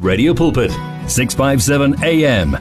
Radio Pulpit, 657 AM.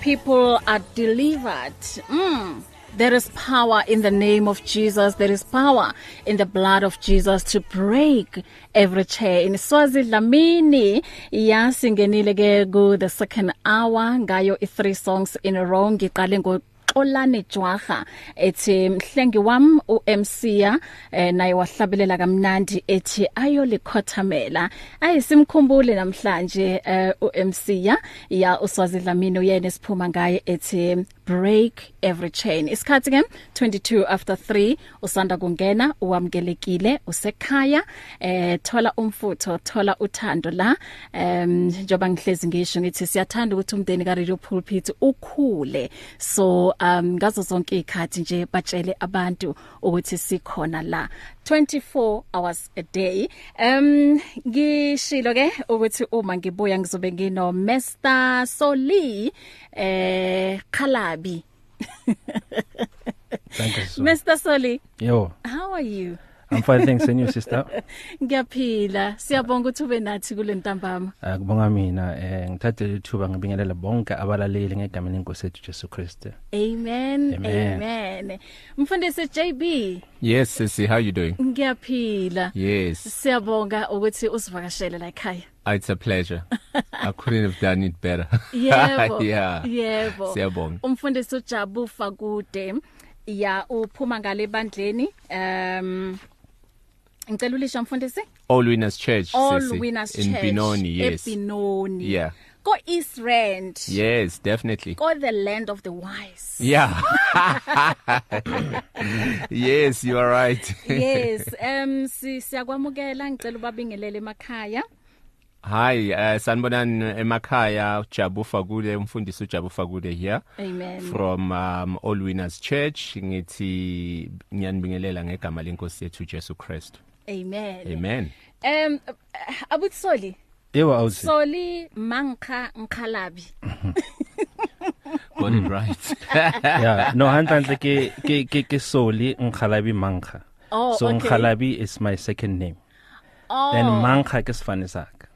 people are delivered. Mm. There is power in the name of Jesus. There is power in the blood of Jesus to break every chain. Swazi Dlamini yasingenile ke ku the second hour ngayo i three songs in a row ngiqale ngo Olane Jwaga ethi mhlengi wami uMCya eh, naye wahlabelela kamnandi ethi ayolikhothamela ayisimkhumbule namhlanje eh, uMCya ya uswazi Dlamini uyena esiphuma ngaye ethi break every chain isikhathi ke 22 after 3 usanda kungena uwamkelekile usekhaya eh thola umfutho thola uthando la em njoba ngihlezi ngisho ngithi siyathanda ukuthi umndeni ka Radio Pulpit ukhule so um ngazo zonke izikhathi nje batshele abantu ukuthi sikhona la 24 hours a day um ngishilo ke ukuthi uma ngibuya ngizobe ngino Mr Soli eh Khalabi Thank you. So. Mr Soli Yo, how are you I'm fine thanks and you sister. Ngiyaphila siyabonga ukuthi ube nathi kulentambama Akubonga mina Ah, eh ngithathe ithuba ngibingelela bonke abalaleli ngegama lenkosi yethu Jesu Christ. Amen. Amen. Amen. Mfundisi JB, Yes, Sissy, how you doing? ngiyaphila. Yes, Siyabonga ukuthi usivakashele la ekhaya. it's a pleasure. I couldn't have done it better. Yebo. yeah. Yebo. Siyabonga. Umfundisi uJabu Fakude ya uphuma ngale bandleni. Um Ngicela ulisha mfundisi. All Winners Church, All Sissy, Winners in Church e Benoni, yes. Ebinoni. Yeah. Go East Rand. Yes, definitely. Go the land of the wise. Yeah. yes, you are right. yes, um si- siyakwamukela ngicela ubabingelele emakhaya. Hi, uh, sanibonani emakhaya, Jabu Fagule, umfundisi uJabu Fagule here. Amen. from um, All Winners Church ngithi ngiyanibingelela ngegama lenkosi yethu Jesu Christ. Amen. Amen. Um uh, abutsoli Yo awuthi soli mankha nkhalabi Got it right. yeah no hantlantle ke ke ke ke soli ngkhalabi mangkha. Oh, so okay. ngkhalabi is my second name. oh Then mangkha ke sifane saka.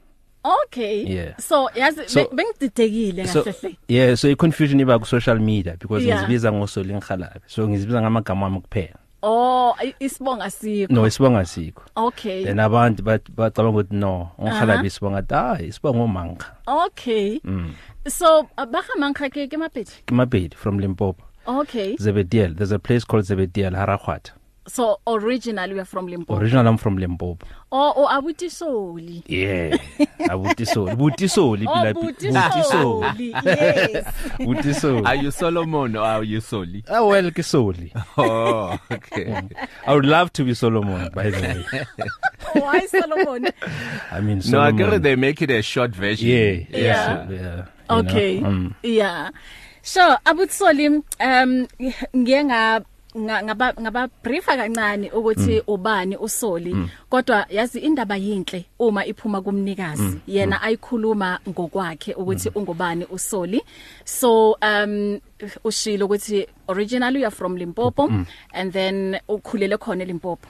okay Yeah. so yazi So- be- bengididekile So kahle hle yeah so i confusion iba ku social media because Yeah. ngizibiza ngosoli ngkhalabi. So ngizibiza ngamagama ami kuphela. oh i- isibonga sikho No isibonga sikho. okay Mm. Then abantu bat- bacabanga ukuthi no ngkhalabi Uh-huh. isibonga ah isibonga mangkha. okay Mm. so uh, baga mankha ke ke mapedi Kimabedi from Limpopo. okay Zebediel there's a place called Zebediel Harakhwatha. so originally we are from limpopo Original I'm from Limpopo. oh oh abutisoli Yeah. Abutisoli. Butisoli oh phela butisoli yes Are Butisoli. you Solomon or are you Soli? Ah well ke soli. Oh, okay. I would love to be Solomon by the way. why Oh, solomon I mean no, I Solomon. get it. They make it a short version. Yeah. Yeah. so, yeah. you Okay. Know? Um, Yeah. So abutsoli um ngiye nga nga- ngaba ngaba briefa kancane ukuthi Mm. ubani usoli kodwa yazi indaba yinhle uma iphuma Mm. kumnikazi yena ayikhuluma ngokwakhe ukuthi ungubani usoli so um ushilo ukuthi originally you are from Limpopo Mm. and then ukhulele khona eLimpopo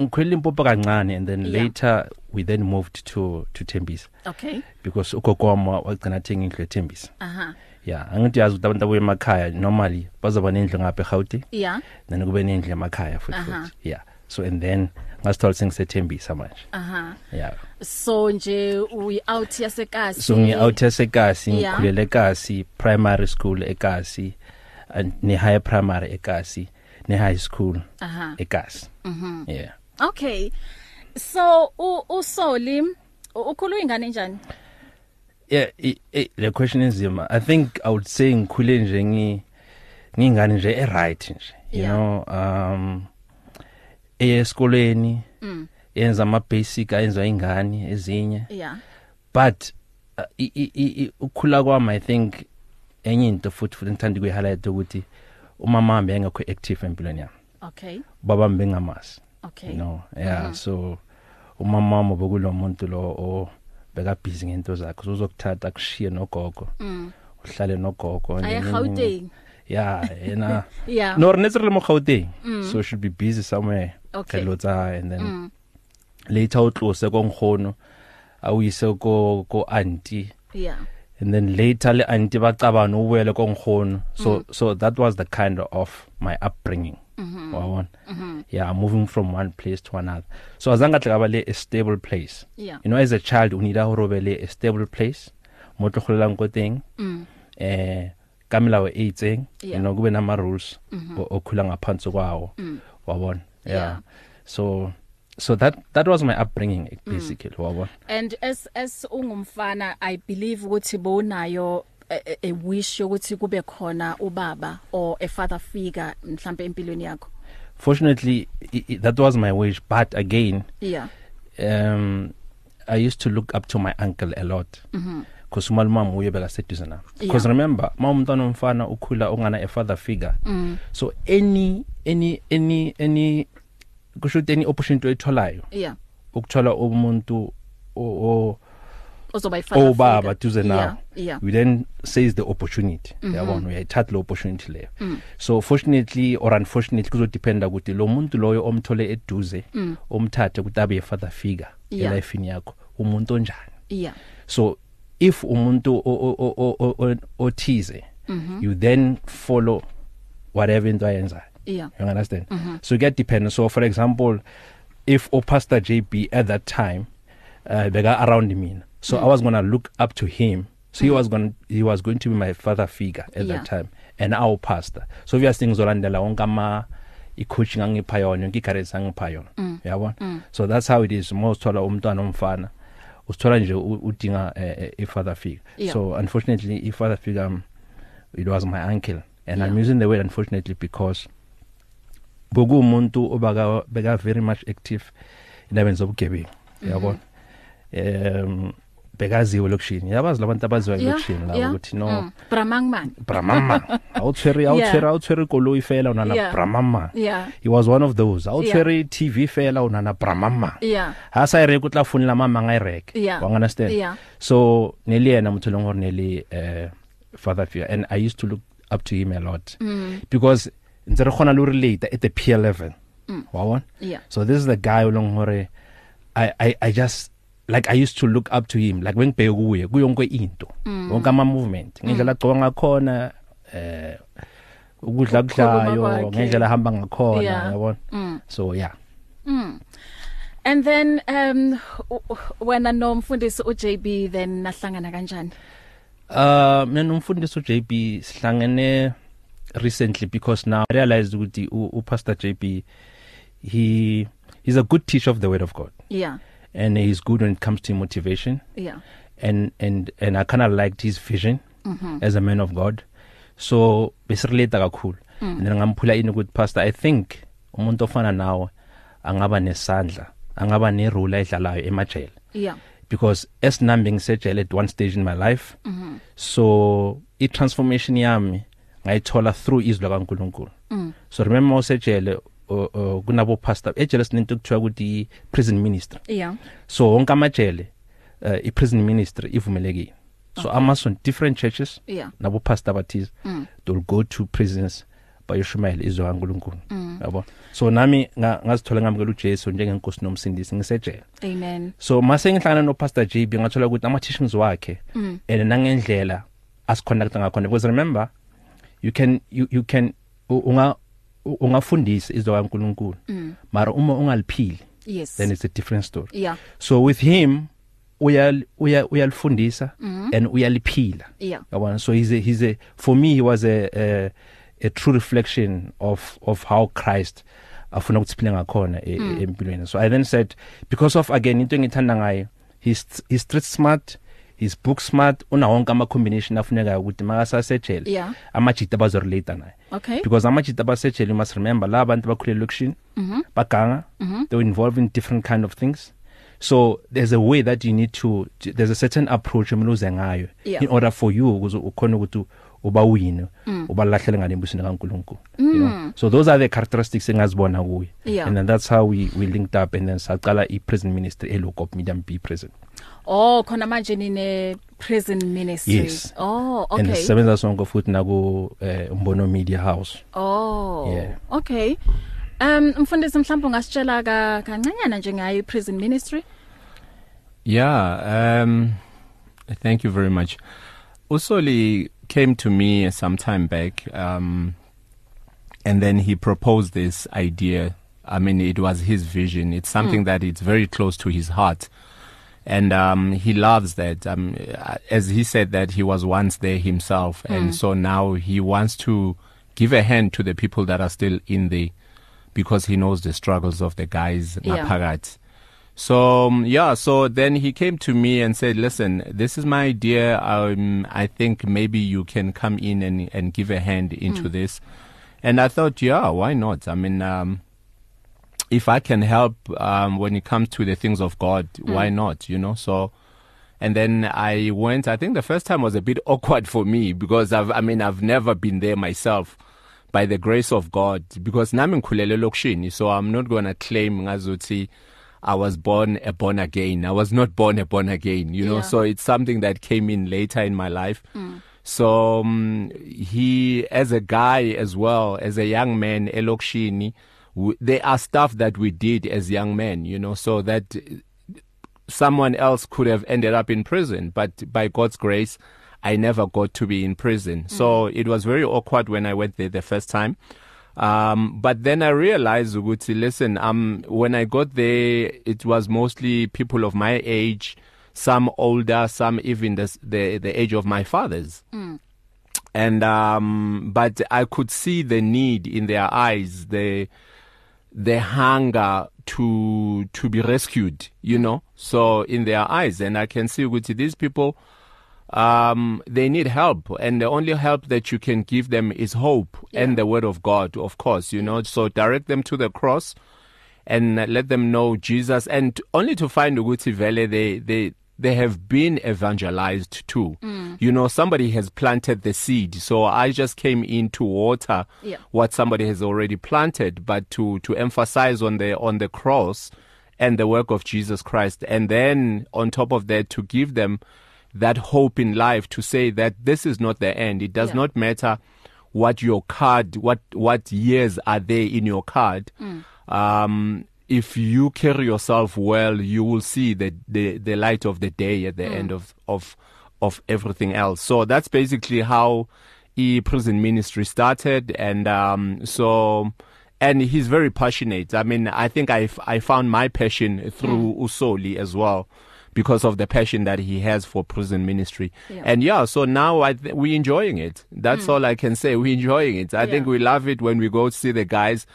ngikhwela impopo kancane and then Yeah. yeah. later we then moved to to Thembisa okay because ugogo wami wa- wagcina thenga indlu eThembisa. aha Yeah, angithi yazi ukuthi abantu abuye emakhaya normally bazaba nendlu ngapha eGauteng. yeah then kube nendlu emakhaya futhi Aha. futhi yeah so and then ngasithola sengisethembisa manje aha yeah so nje we out yasekasi so ngi out esekasi Yeah. ngikhulele ekasi primary school ekasi and ne high primary ekasi ne high school aha Mm-hmm. ekasi mhm yeah Okay. So u usoli u- ukhulwe ingane njani? yeah i- i- the question is yima i think i would say ngikhule nje ngi ngingane nje e right nje you Yeah. know um esikoleni Mm. yenza ama basic ayenza ingane ezinye Yeah. but uh, i- i- i- i- ukukhula kwami i think enye into futhi futhi ngithanda ukuyihighlight ukuthi umama wami engekho active empilweni yami Okay. baba wami bengamasi Okay. Uh-huh. you know yeah mm -hmm. so umama wami bekulomuntu lo o beka busy ngento zakhe so uzokuthatha kushiye nogogo Mm. uhlale nogogo Aye nini- Gauteng. yeah yena Yeah. no necessarily mo Gauteng so should be busy somewhere Okay. Kalotsa and then mm. later utlose kongihono awuyise ko ko auntie yeah and then later le auntie bacabana uwele kongihono so mm. so that was the kind of my upbringing mm-hmm. wabona mm-hmm. yeah moving from one place to another so azangahle kaba le a stable place Yeah. you know as a child unida ho robele a stable place motlo kholelang ko teng mm. eh kamela we itseng Yeah. Mm-hmm. you know kube nama rules o- okhula ngaphansi kwawo wabona yeah. Mm. Yeah. yeah so so that that was my upbringing basically mm. wabona and as as ungumfana i believe ukuthi bonayo a, a- a wish ukuthi kube khona ubaba or a father figure mhlambe empilweni yakho fortunately i i that was my wish but again yeah um i used to look up to my uncle a lot because umalumam uye bekaseduze nami because Mm-hmm. Yeah. remember uma umntwana omfana ukhula ungana a father figure mm. so any any any any kusho ukuthi any opportunity oyitholayo yeah ukuthola umuntu o- o- uzoba ifather obaba duze nawe yeah Mhm. we then seize the opportunity yabona uyayithatha le opportunity leyo Mm. so fortunately or unfortunately kuzodependa ukuthi lo muntu loyo omthole eduze omthathe ukuthi abe father figure Mm. Yeah. elifini yakho umuntu onjani yeah so if umuntu o- o- o- o- o- o- othize you then follow whatever into ayenzayo yeah You understand? Mm-hmm. So you get dependent. So for example, if O Pastor JB at that time, uh, they got around me, so mm-hmm. I was gonna look up to him. So mm-hmm. he was going he was going to be my father figure at Yeah. that time, and our pastor. So we are things olandela onkama i-coaching angipha yona yonke i-guidance angipha Mm. yona uyabona so that's how it is uma usithola umntwana omfana usithola nje u- udinga eh, eh, i-father figure Yeah. so unfortunately i-father figure um, it was my uncle and yeah. i'm Yeah. using the word unfortunately because bokumuntu obaka beka very much active indabeni zobugebengu Mm-hmm. yabona um bekaziwe lokushini yabazi labantu abaziwa yeah lokushini la yeah ukuthi no Mm. bramangman bramama awutshwere awutshwere awutshwere koloi fela unana Yeah. bramama Yeah. he was one of those awutshwere tv fela unana bramama yeah ha sa ireke o tla funela mama nga ireke Yeah. e wa understand Yeah. so neli yena motho e leng gore neli uh, father figure and i used to look up to him a lot mm. because ntse re gona le re later at the peer level mm. wa bona Yeah. so this is the guy o leng gore i i i just like i used to look up to him like when bheke kuye kuyonke into Mm. wonke ama movement ngendlela agcoka ngakhona eh ukudla Ukukhuluma kudlayo kwakhe. ngendlela ahamba ngakhona Yeah. Mm. yabona so yeah and then um u- u- wena nomfundisi uJB then nahlangana kanjani Uh mina nomfundisi uJB sihlangene recently because now I realized ukuthi u u Pastor JB he he's a good teacher of the word of God yeah and he's good when it comes to motivation yeah and and and I kind of liked his vision mm-hmm. as a man of God so besirelate kakhulu mm. and then ngamphula ini ukuthi pastor I think umuntu ofana nawe angaba nesandla angaba ne role ayidlalayo emajele yeah because esinambi ngisejele at one stage in my life mm-hmm. so i transformation yami ngayithola through izwi likaNkuluNkulu mm. so remember usejele o- o- kunabo pastor ejele sinento kuthiwa ukuthi i- prison ministry yeah so wonke amajele uh, i prison ministry ivumelekile so okay. amason different churches Yeah. nabo pastor abathize mm. they'll go to prisons bayoshumayela izwi likaNkuluNkulu mm. yabo so nami nga- ngazithola ngamukela uJesu njengenkosi nomsindisi ngisejele amen so mase ngihlangana no Pastor JB ngathola ukuthi ama teachings wakhe mm. and nangendlela asiconnecta ngakhona because remember you can you you can u- unga u- ungafundisa izwi kaNkuluNkulu mm. mara uma ungaliphili yes then it's a different story yeah so with him uya uya uyalifundisa mm. and uyaliphila Yeah. yabona so he's a, he's a for me he was a a, a true reflection of of how Christ uh, afuna ukuthi siphile ngakhona e- Hmm. e- empilweni so i then said because of again into engithanda ngayo he's he's street smart he's book smart una wonke ama combination afunekayo ukuthi makasasejele Yeah. amajita abazo relate naye Okay. because amajita abasejele you must remember la abantu bakhulele lokushini Mm-hmm. baganga they were involved in different kind of things so there's a way that you need to there's a certain approach emluze ngayo Yeah. in order for you ukuze ukhona ukuthi uba uyini Mm. ubalahlele ngale mbusini kaNkuluNkulu you know so those are the characteristics engazibona kuye Yeah. and then that's how we we linked up and then saqala i-prison ministry elokop medium B prison Oh khona manje nine prison ministry. Yes. Oh and okay. sisebenza sonke futhi naku eh, umbono media house Oh. Yeah. Okay. Um mfundisi mhlawumbe ungasitshela ka- kancanyana nje ngayo prison ministry? Yeah, um, thank you very much. Usoli came to me some time back, um, and then he proposed this idea. I mean, it was his vision. It's something that it's very close to his heart, and um, he loves that. Um, uh, as he said that he was once there himself, and so now he wants to give a hand to the people that are still in there, because he knows the struggles of the guys Yeah. ngaphakathi. So um, yeah, so then he came to me and said, "Listen, this is my idea. Um, I think maybe you can come in and and give a hand into this." And I thought, yeah, why not? I mean, um, if I can help um, when it comes to the things of God, why not? You know, so. And then I went. I think the first time was a bit awkward for me because I've, I mean, I've never been there myself. By the grace of God, because nami ngikhulele lokishini, so I'm not going to claim ngazuthi I was born a born again. I was not born a born again, you know. Yeah. So it's something that came in later in my life. So um, he, as a guy as well, as a young man, elokishini, w- there are stuff that we did as young men, you know, so that someone else could have ended up in prison. But by God's grace, I never got to be in prison. So it was very awkward when I went there the first time. Um, but then I realized, Uguti, listen, um, when I got there, it was mostly people of my age, some older, some even the, the, the age of my father's and um, but I could see the need in their eyes, the the hunger to to be rescued, you know. So in their eyes, and I can see ukuthi these people, um, they need help, and the only help that you can give them is hope and the word of God, of course, you know. So direct them to the cross. And let them know Jesus, and only to find Uguti Vele, they, they, they have been evangelized too. You know, somebody has planted the seed. So I just came in to water Yeah. what somebody has already planted, but to, to emphasize on the on the cross and the work of Jesus Christ. And then on top of that to give them that hope in life to say that this is not the end. It does Yeah. not matter what your card, what what years are there in your card. Um, if you carry yourself well, you will see the the, the light of the day at the end of of of everything else. So that's basically how e prison ministry started, and um, so. And he's very passionate. I mean, I think I, f- I found my passion through Hmm. Usoli as well because of the passion that he has for prison ministry. Yeah. Hmm. And yeah, so now I th- we're enjoying it. That's all I can say. We're enjoying it. I think Yeah. we love it when we go see the guys.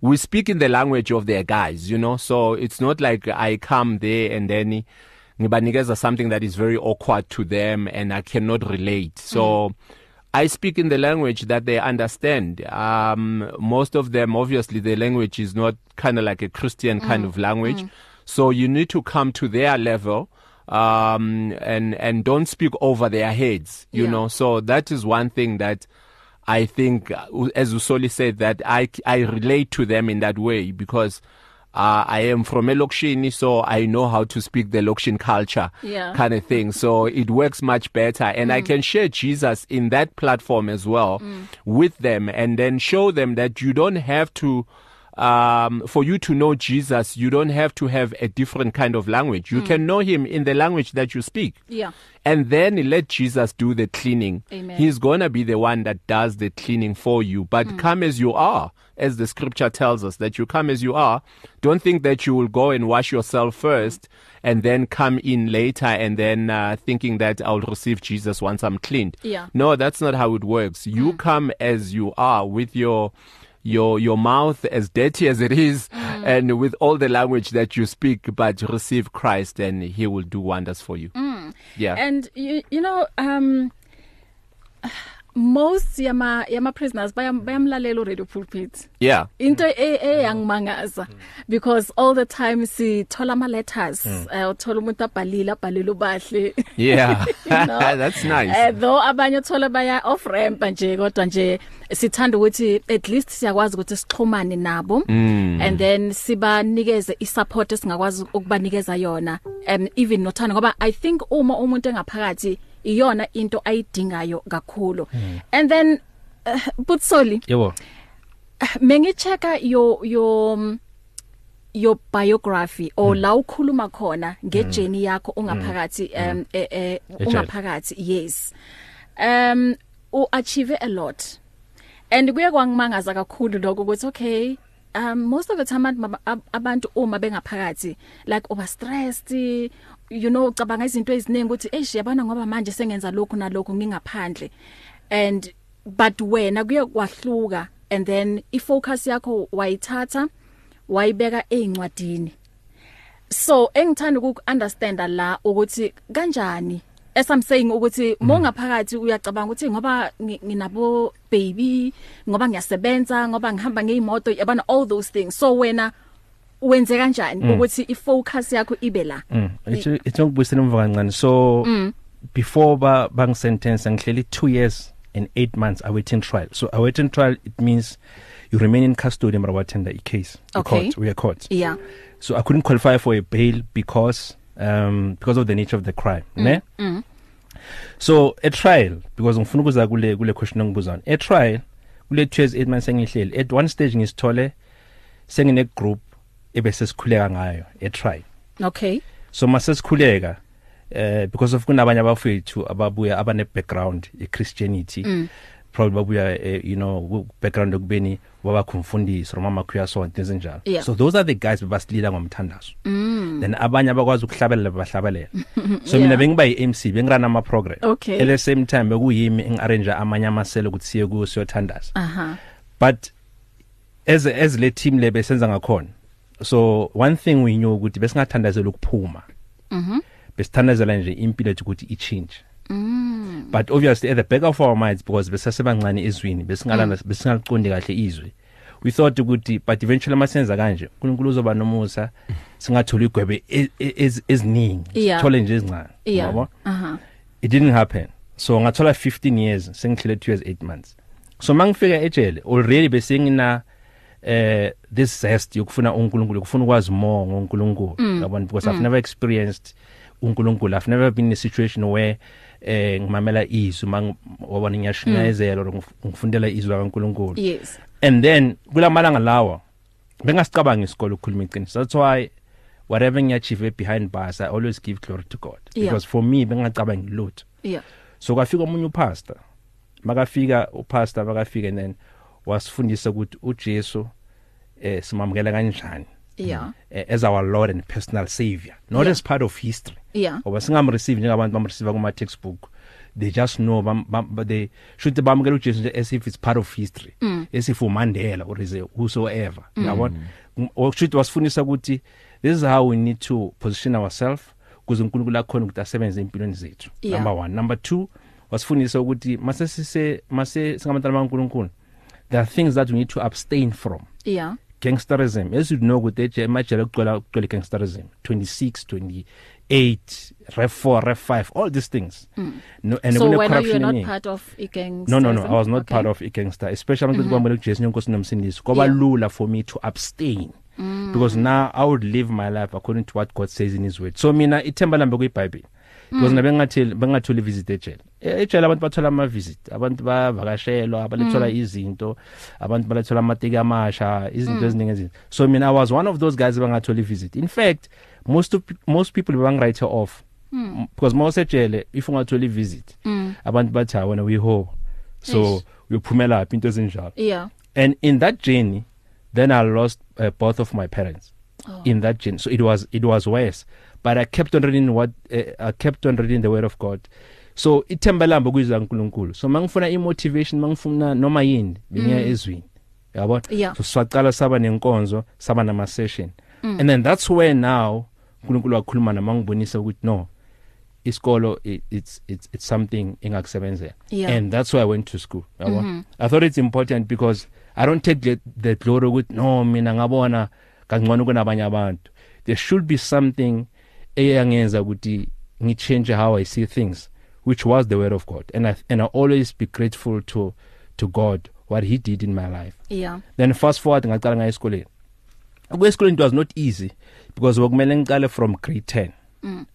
We speak in the language of their guys, you know. So it's not like I come there and then ngibanikeza something that is very awkward to them and I cannot relate. So I speak in the language that they understand. Um, most of them, obviously, the language is not kind of like a Christian kind of language. So you need to come to their level um, and and don't speak over their heads. You Yeah. know, so that is one thing that I think, uh, as Usoli said, that I I relate to them in that way because. Uh, I am from Elokshini, so I know how to speak the Lokshin culture Yeah. Mm. kind of thing. So it works much better. And I can share Jesus in that platform as well with them and then show them that you don't have to, um, for you to know Jesus, you don't have to have a different kind of language. You can know him in the language that you speak. Mm. Yeah. And then let Jesus do the cleaning. Amen. Hmm. He's going to be the one that does the cleaning for you. But come as you are, as the scripture tells us that you come as you are. Don't think that you will go and wash yourself first and then come in later and then uh, thinking that I'll receive Jesus once I'm cleaned. Yeah. Hmm. No, that's not how it works. You come as you are with your your your mouth as dirty as it is Hmm. and with all the language that you speak but receive Christ and he will do wonders for you. Hmm. Yeah. And you, you know um most yama yama prisoners bayam bayamlalela already pulpit. yeah. into e- eyangimangaza because all the time sithola ama letters eh, uthola umuntu abhalile abhalile ubahle Yeah. You know? That's nice. eh though abanye uthola baya off ramp nje kodwa nje sithanda ukuthi at least siyakwazi ukuthi sixhumane nabo and then sibanikeze isupport esingakwazi ukubanikeza yona and even nothando ngoba i think uma umuntu engaphakathi iyona into ayidingayo kakhulu and then uh, but solely yebo mengicheka your your mm, your biography or la ukhuluma khona ngejourney yakho ungaphakathi um eh, eh, Ejele. ungaphakathi yes um u achieve a lot and kuye kwangimangaza kakhulu lokho ukuthi okay um most of the time abantu maba- ab- abantu uma bengaphakathi like over stressed you know ucabanga izinto eziningi ukuthi eish yabona ngoba manje sengenza lokhu nalokhu ngingaphandle and but wena kuye kwahluka and then i focus yakho wayithatha wayibeka eincwadini so engithanda ukuunderstanda la ukuthi kanjani as i'm saying ukuthi Mm. mongaphakathi uyacabanga ukuthi ngoba ngi- nginabo baby ngoba ngiyasebenza ngoba ngihamba ngeimoto yabana all those things so wena wenze Mm. kanjani ukuthi i focus yakho ibe la It's it's ngibuyisela umva kancane. So before ba bang sentence ngihleli 2 years and 8 months awaiting trial. So awaiting trial it means you remain in custody mara watenda i case. The Okay. Court, we are court. yeah So I couldn't qualify for a bail because um because of the nature of the crime, mm. ne? Mm. So a trial because ngifuna ukuza kule kule question engibuzana. A trial kule 2 years 8 months engihleli. At one stage ngisithole sengine group ebese sikhuleka ngayo a trial. okay so masesikhuleka eh because of kunabanye abafethu ababuya abane background e Christianity mm. probably babuya eh, you know ku- background okubeni wabakhumfundisi noma makhuya so things njalo Yeah. so those are the guys bebasilila ngomthandazo mm. then abanye abakwazi ukuhlabelela bahlabelela so mina Yeah. bengiba yi MC bengirana ama program Okay. at the same time bekuyimi engarrange amanye amasele ukuthi siye kuyo siyothandaza aha but as as le team le besenza ngakhona so one thing we knew ukuthi besingathandazela ukuphuma mhm besithandazela nje impilo yethu ukuthi i change Mm. mhm but obviously at the back of our minds because besasebancane ezwini besingalana Mm. besingaliqondi kahle izwi we thought ukuthi but eventually masenza kanje uNkulunkulu uzoba nomusa singathola igwebe e- e- ez- eziningi Yeah. sithole nje ezincane yeah Uh-huh. yabo? aha it didn't happen so ngathola 15 years sengihlele 2 years 8 months so mangifika ejele already besengina eh this zest yokufuna uNkulunkulu ukufuna ukwazi more ngoNkulunkulu yabona because I've never experienced uNkulunkulu I've never been in a situation where eh ngimamela izwi mang wabona ngiyashinyayezela or ngif- ngifundela izwi kaNkulunkulu yes and then kulamalanga lawa bengasicabanga isikole ukukhuluma iqiniso that's why whatever ngiyachieve behind bars i always give glory to god Yeah. because for me bengacabanga lutho yeah so kwafika umunye upastor makafika upastor makafika and then wasifundisa ukuthi uJesu eh simamukela kanjani yeah eh, as our lord and personal savior not Yeah. as part of history yeah oba singamreceive njengabantu bamreceive kuma textbook they just know bam, bam, but they should bamukela uJesu nje as if it's part of history mm. as if uMandela or is a whosoever mm. yabona washuthi wasifundisa ukuthi this is how we need to position ourselves kuze uNkulunkulu akhona ukuthi asebenze empilweni zethu Yeah. number 1 number 2 wasifundisa ukuthi mase sise mase singabantwana baNkulunkulu there are things that we need to abstain from yeah gangsterism as you know ukuthi eje emajele kugcwala kugcwala gangsterism 26 28 ref 4 ref 5 all these things mm. no and so kune whether you're corruption not eningi. part of a gang no no no i was not okay. part of a gangster especially because kwambele uJesu inkosi nomsindisi kwaba Yeah. lula for me to abstain mm. because now i would live my life according to what god says in his word so mina ithemba lambe kuyiBhayibheli because nabe ngatheli bengatholi visit ejele E-, ejele abantu bathola ama visit abantu bavakashelwa abalethola izinto abantu balethola amateki amasha izinto eziningi ezinto so mina i was one of those guys abangatholi visit in fact most of, most people bangwrite off mm. because mawusejele if ungatholi visit mm. abantu bathi ha wena uyiho so Eish. uyophumela phi into ezinjalo yeah and in that journey then i lost uh, both of my parents Oh. in that journey so it was it was worse but i kept on reading what uh, i kept on reading the word of god so ithemba lambe kuyizwa uNkulunkulu so mangifuna imotivation mangifuna noma yini bengiya ezwini yabona Mm. Yeah. so swaqala saba nenkonzo saba nama session Mm. and then that's where now uNkulunkulu wakhuluma nami ngibonisa ukuthi no isikolo i- it's it's it's something engakusebenzela Yeah. and that's why i went to school yabo mm -hmm. i thought it's important because i don't take the, the glory ukuthi no mina ngabona kangcono kunabanye abantu there should be something eyangenza ukuthi ngichange how i see things which was the word of god and i and i always be grateful to to god what he did in my life yeah then fast forward ngaqala ngaye esikoleni ukuya esikoleni it was not easy because wakumele ngiqale from grade 10 mm.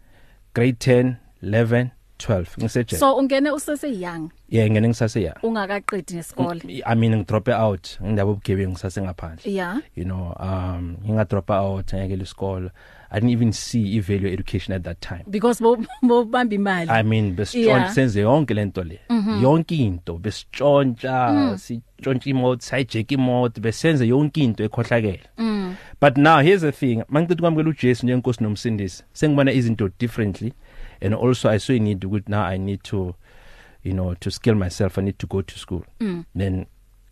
grade 10 11 12 ngiseje so ungene usese young yeah ngene ngisase yeah ungakaqedi nesikole i mean ngidrope out ngindaba obugebengu ngisase ngaphandle yeah you know um nginga drop out ngeke isikole i didn't even see i value education at that time because bo bo bamba imali I mean besitshontsha Yeah. yeah. senze yonke lento le yonke into besitshontsha mm. sitshontsha imoto sijack imoto besenze yonke into ekhohlakela mm. e but now here's the thing mangicinga kwamukela uJesu njengenkosi nomsindisi sengibona izinto differently and also I saw a need ukuthi now I need to you know to skill myself I need to go to school mm. then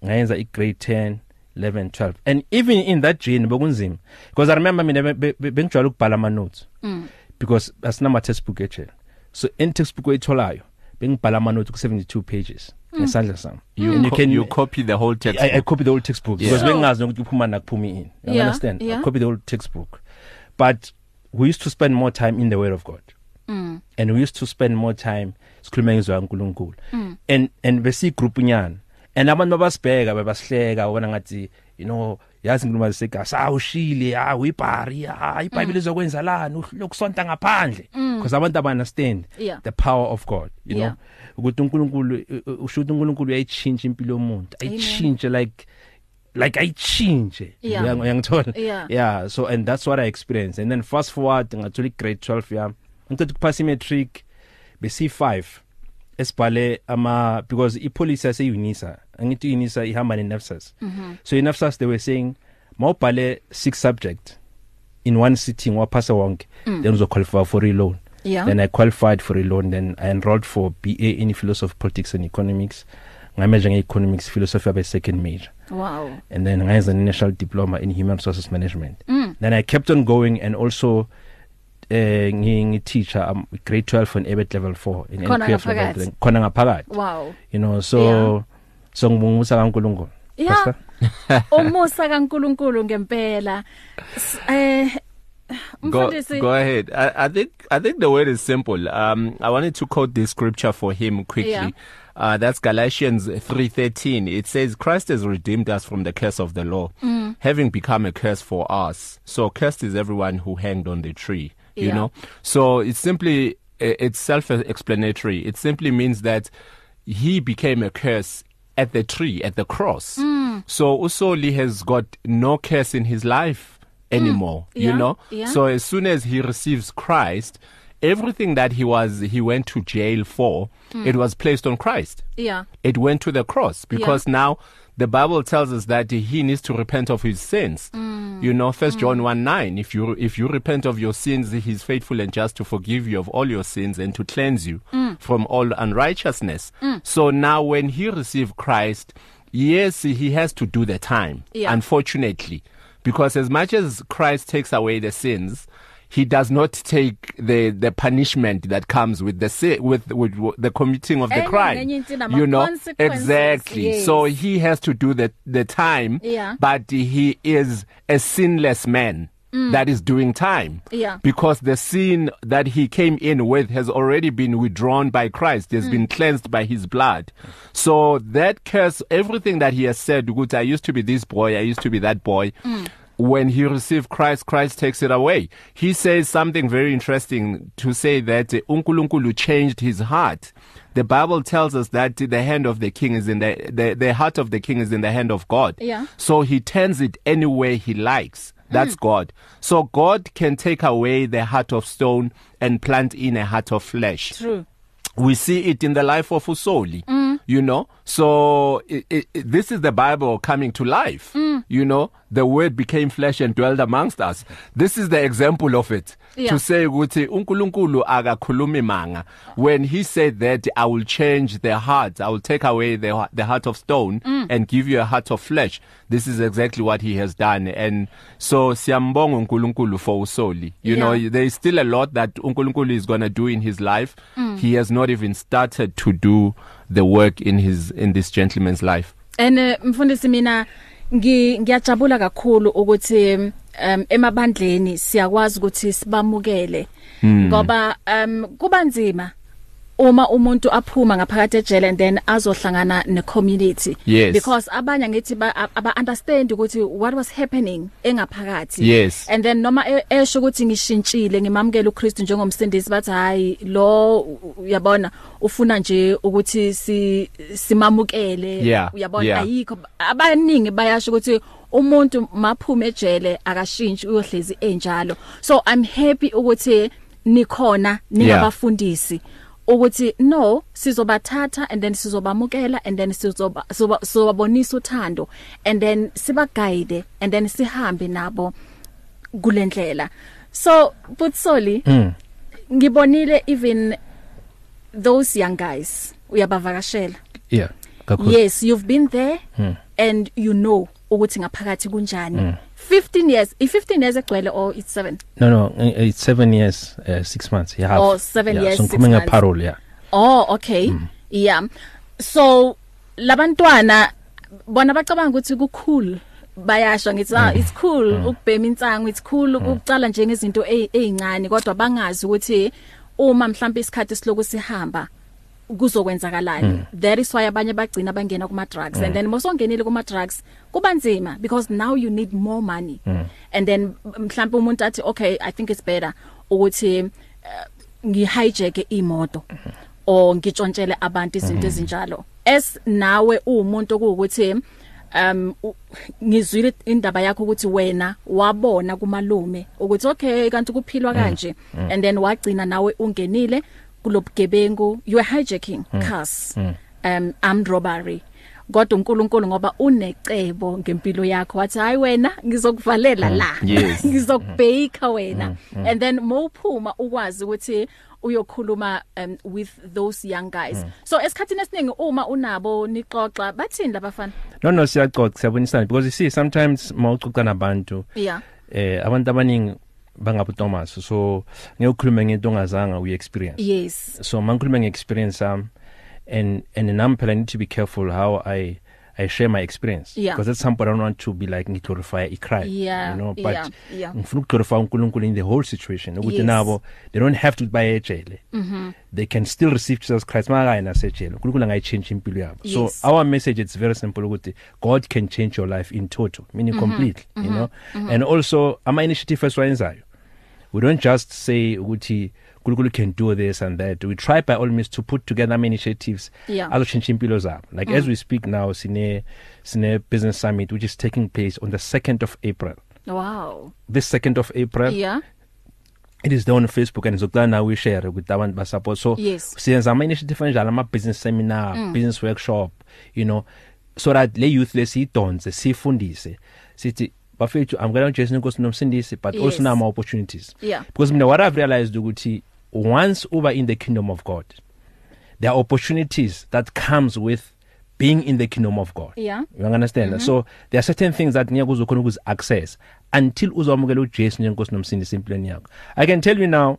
ngayenza i grade 10 11 12 and even in that journey bekunzima because I remember mina be- be- bengijwayele ukubhala ama notes mm. because asina ma textbook ejele so in textbook oyitholayo bengibhala ama notes ku 72 pages ngesandla sami You, And co- you, can, you copy the whole text. I, I copy the whole textbook yeah. because So- bengazi ukuthi kuphuma na kuphumi in you Yeah, understand yeah. I copy the whole textbook but we used to spend more time in the word of god mm. and we used to spend more time sikhuluma ngizwa uNkulunkulu Mm. and and bese group nyana and abantu babasibheka babasihleka ubona ngathi you know yazi ngikhuluma sega sawushile ah uyibhari ah Mm. iBhayibheli izokwenza lana ukusonta ngaphandle because abantu aba understand Yeah. the power of god you know ukuthi uNkulunkulu u- u- usho ukuthi uNkulunkulu uyayichinja impilo yomuntu ayichinje like like ayichinje Yeah. Uyang- uyangithola Yeah. yeah so and that's what i experienced and then fast forward ngathola grade 12 yami ngicela ukuphasa imatric bese 5 esibhale ama because ipolice yase Unisa angithi Unisa ihamba nenafsas Mm-hmm. so inafsas they were saying mawubhale 6 subject in one sitting waphasa wonke then uzo qualify for reloan Mm. Yeah. then i qualified for reloan then i enrolled for BA in philosophy politics and economics ngamajor nge economics philosophy abe second major wow and then ngayenza ne national diploma in human resources management mm. then i kept on going and also eh ngi ngi teacher um, grade 12 and ebet level 4 in Khona NQF level ngaphakathi. three. khona ngaphakathi wow you know so Yeah. yeah. so ngibungusa kaNkulunkulu Yeah. umusa kaNkuluNkulu ngempela S- eh go, mfundisi go ahead. I, I think I think the word is simple. Um, I wanted to quote this scripture for him quickly. Yeah. Uh, that's Galatians 3:13. It says Christ has redeemed us from the curse of the law, Mm. having become a curse for us. So cursed is everyone who hanged on the tree, you Yeah. know. So it's simply i- it's self-explanatory. It simply means that he became a curse at the tree at the cross. Mm. So Usoli has got no curse in his life Mm. anymore, Yeah, you know. yeah. So as soon as he receives Christ, everything that he was he went to jail for, Hmm. it was placed on Christ. yeah It went to the cross because now the Bible tells us that he needs to repent of his sins. You know, First John one nine. If you if you repent of your sins, he's faithful and just to forgive you of all your sins and to cleanse you from all unrighteousness. So now, when he received Christ, yes, he has to do the time. Yeah. Unfortunately, because as much as Christ takes away the sins, he does not take the the punishment that comes with the si- with, with, with the committing of the Enye crime. nenye into nama- You know consequences, exactly. So yes. he has to do the the time. Yeah. Uh-huh. But he is a sinless man. That is doing time. Mm. Yeah. Because the sin that he came in with has already been withdrawn by Christ, Mm. has been cleansed by his blood. So that curse, everything that he has said, good, I used to be this boy, I used to be that boy. Mm. When he received Christ, Christ takes it away. He says something very interesting to say that uh, Unkulunkulu changed his heart. The Bible tells us that the hand of the king is in the, the the heart of the king is in the hand of God. Yeah. So he turns it any way he likes. That's God. So God can take away the heart of stone and plant in a heart of flesh. true We see it in the life of Usoli, you know. So i i i- this is the Bible coming to life. You know, the Word became flesh and dwelled amongst us. This is the example of it. Yeah. To say ukuthi uNkulunkulu akakhulumi manga. When he said that I will change their hearts, I will take away the the heart of stone and give you a heart of flesh. This is exactly what he has done. And so siyambonga uNkulunkulu for Usoli. You Yeah. know, there is still a lot that uNkulunkulu is going to do in his life. He has not even started to do the work in his in this gentleman's life. and eh, mfundisi mina ngi- ngiyajabula kakhulu ukuthi um Hmm. emabandleni siyakwazi ukuthi sibamukele ngoba um kubanzima uma umuntu aphuma ngaphakathi ejele and then azohlangana necommunity Yes. because abanye ngithi ba aba understand ukuthi what was happening engaphakathi Yes. and then noma e- esho ukuthi ngishintshile ngimamukela uKristu njengomsindisi bathi hayi lo u- uyabona ufuna nje ukuthi si simamukele Yeah, uyabona yeah. ayikho abaningi bayasho ukuthi umuntu maphume ejele akashintshi uyohlezi enjalo so i'm happy ukuthi nikhona ningabafundisi ukuthi no sizobathatha and then sizobamukela and then sizoba sizoba- sizobabonisa uthando and then siba guide and then sihambe nabo kulendlela so butsoli Hmm. ngibonile even those young guys uyabavakashela yeah kakhulu yes you've been there mm. and you know ukuthi ngaphakathi kunjani mm. 15 years i 15 years egcwele or it's 7 no no eh, it's 7 years uh, 6 months yeah half. Oh, seven yeah, years, so six ngikhuluma months. ngeparole yeah oh okay mm. yeah so labantwana bona bacabanga ukuthi kucool bayasho ngithi ah it's cool ukubhema insango it's cool ukucala nje ngezinto ey- ezincane kodwa bangazi ukuthi uma mhlawumbe isikhathi siloku sihamba kuzokwenzakalani that is why abanye bagcina bangena kuma drugs and then mosongenile kuma drugs kubanzima because now you need more money and then mhlawumbe umuntu athi okay i think it's better ukuthi eh, ngihijack imoto or ngitshontshele abantu izinto ezinjalo as nawe umuntu ukuthi um u- ngizwile indaba yakho ukuthi wena wabona kumalume ukuthi okay kanti kuphilwa kanje and then wagcina nawe ungenile kulobugebengu you were hijacking cars um armed robbery kodwa uNkulunkulu ngoba unecebo ngempilo yakho wathi hayi wena ngizokuvalela la Yes. ngizokubheka wena and then mawuphuma ukwazi ukuthi uyokhuluma um, with those young guys so esikhatini esiningi uma unabo nixoxa bathini labafana no no siyaxoxa siyabonisana because you see sometimes mawuxoxa nabantu yeah eh abantu abaningi bangabu Thomas so ngiyokhuluma ngento ongazange uyi experience yes so mangikhuluma ngeexperience um and and nami phela I need to be careful how I I share my experience Yeah. because at some point I don't want to be like ngiglorify icrime Yeah, you know yeah, but yeah. ngifuna ukuglorify uNkulunkulu in the whole situation ukuthi Yes. Mm-hmm. nabo they don't have to buy ejele they can still receive Jesus Christ makayena sejele uNkulunkulu angayichange impilo yabo Yes. so our message it's very simple ukuthi God can change your life in total meaning Mm-hmm. completely you know and also ama initiative esiwayenzayo we don't just say ukuthi uNkulunkulu can do this and that we try by all means to put together many initiatives Yeah. azoshintsha impilo zabo like mm. as we speak now sine sine business summit which is taking place on the 2nd of April wow this 2nd of April yeah it is there on Facebook and zokucala nawe ishare ukuthi abantu ba support so Yes. siyenza ama initiative njalo ama business seminar mm. business workshop you know so that le youth lesidonse sifundise sithi bafethu I'm going to Jason Nkosi nomsindisi but yes. Yes. also now my opportunities Yeah. because mina what I've realized ukuthi once uba in the kingdom of God there are opportunities that comes with being in the kingdom of God Yeah. Mm-hmm. you understand mm -hmm. so there are certain things that ngeke uzokhona ukuzi access until uzamukela uJesu njengenkosi nomsindisi empilweni yakho i can tell you now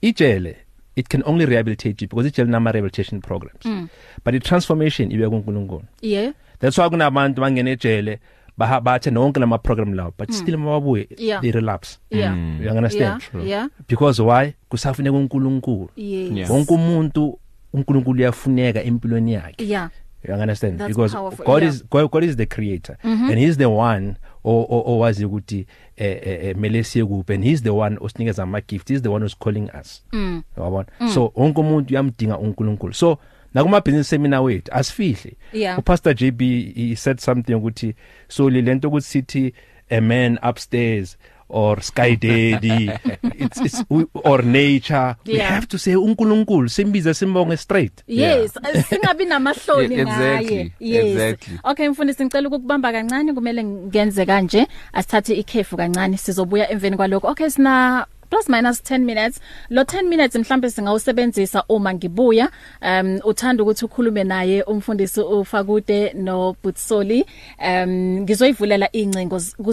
ijele it can only rehabilitate you because ijele nama rehabilitation programs mm. but the transformation ibe kuNkulunkulu yeah that's why kunabantu bangena ejele baha- bathe nonke lama program lawo but mm. still mababuye Yeah. they relapse yeah you understand yeah yeah because why kusafuneka uNkulunkulu yes Yeah. wonke umuntu uNkulunkulu uyafuneka empilweni yakhe yeah you understand That's because powerful, God yeah. Mm-hmm. is God, God is the creator mm -hmm. and he's the one o- o- owazi ukuthi eh, eh, eh, mele siye kuphi and he's the one osinikeza ama gifts he's the one who's calling us mm. yabona mm. so wonke umuntu uyamdinga uNkulunkulu so nakuma business seminar wethu asifihli Yeah. upastor JB he said something ukuthi so le lento ukuthi sithi a man upstairs or sky daddy it's, it's we, or nature we Yeah. have to say uNkulunkulu simbize simbonge straight Yes, singabi namahloni Yeah, ngaye. exactly, Yes. exactly. Okay mfundisi ngicela ukukubamba kancane kumele ngenze kanje asithathe ikhefu kancane sizobuya emveni kwaloko. Okay sina plus minus 10 minutes lo 10 minutes mhlambe singawusebenzisa uma ngibuya um uthanda ukuthi ukhulume naye umfundisi ufakude no Butsoli um ngizoyivulela incingo z- ku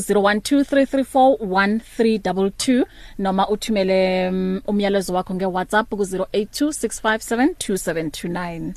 0123341322 noma uthumele um, umyalezo wakho nge WhatsApp ku 0826572729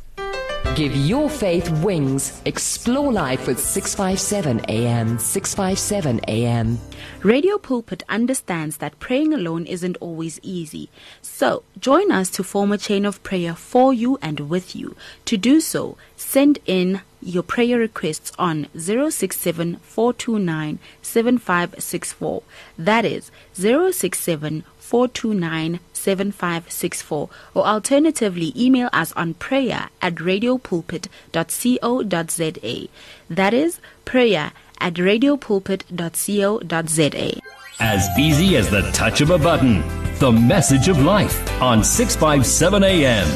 Give your faith wings. Explore life with 657 AM. 657 AM. Radio Pulpit understands that praying alone isn't always easy. So, join us to form a chain of prayer for you and with you. To do so, send in your prayer requests on 067 429 7564. That is 067 429 7564 or alternatively email us on prayer at radiopulpit.co.za. That is prayer at radiopulpit.co.za. As easy as the touch of a button. The message of life on 657 AM.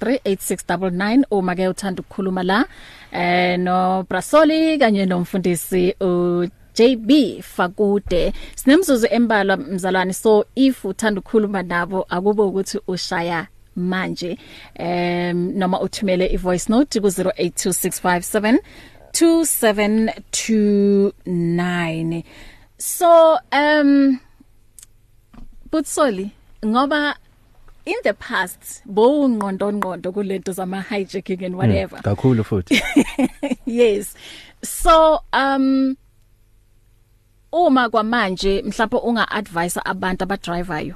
0123341322 uma ke Oh, uthanda ukukhuluma la eh no Brasoli kanye nomfundisi u JB Fakude sinemzuzu embalwa mzalwane so if uthanda ukukhuluma nabo akube ukuthi ushaya manje em noma uthumele ivoice note ku 082657 2729 so um Butsoli ngoba in the past bo ngqondo ngqondo kulento zama hijacking and whatever mm. kakhulu futhi yes so um uma kwamanje mhlawumbe unga advise abantu abadrivayo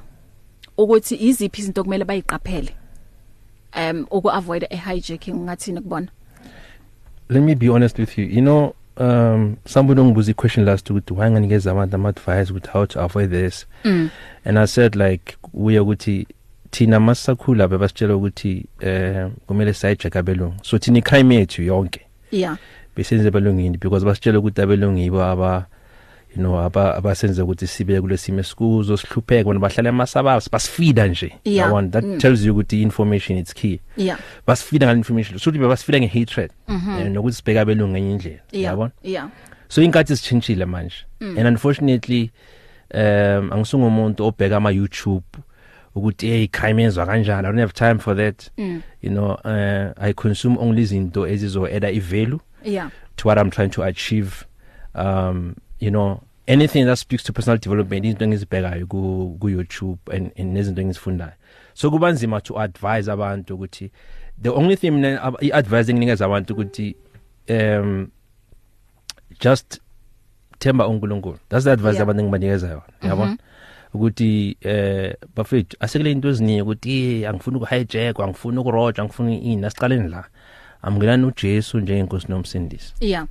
ukuthi iziphi izinto okumele bayiqaphele um uku avoid a hijacking ungathini kubona let me be honest with you you know um somebody ongibuza i-question last ukuthi why nganikeza abantu ama-advice ukuthi how to avoid this Mm. and i said like kuye ukuthi thina masisakhula bebasitshela ukuthi um kumele siyayijeka abelungu so thina i-crime yethu yonke yeah besenze abelungini because basitshela ukuthi abelungu yibo aba you know aba abasenze ukuthi sibe kulesimo esikuzo sihlupheke bona bahlala emasabas basifida nje Yeah. Yabona? that Mm. tells you ukuthi information it's key yeah basifida ngale information so ukuthi bebasifida ngehatred eh, nokuthi sibheka abelungu ngenye indlela yeah yeah so inkathi sitshintshile manje and unfortunately um angisungumuntu obheka ama YouTube ukuthi hey crime yenzwa kanjani i don't have time for that mm. you know uh, i consume only izinto ezizo add i value yeah to what i'm trying to achieve um you know anything that speaks to personal development into ngizibhekayo ku ku YouTube and and nezinto engizifundayo so kubanzima to advise abantu ukuthi the only thing mina ab- i-advising nginikeza abantu ukuthi um just themba uNkulunkulu that's the advice Yeah. abantu ngibanikeza yona yabona ukuthi eh bafethu asekule into eziningi ukuthi eh, angifuni ukuhijack angifuni ukuroja angifuni ini asiqaleni la amngelana uJesu njengenkosi nomsindisi yeah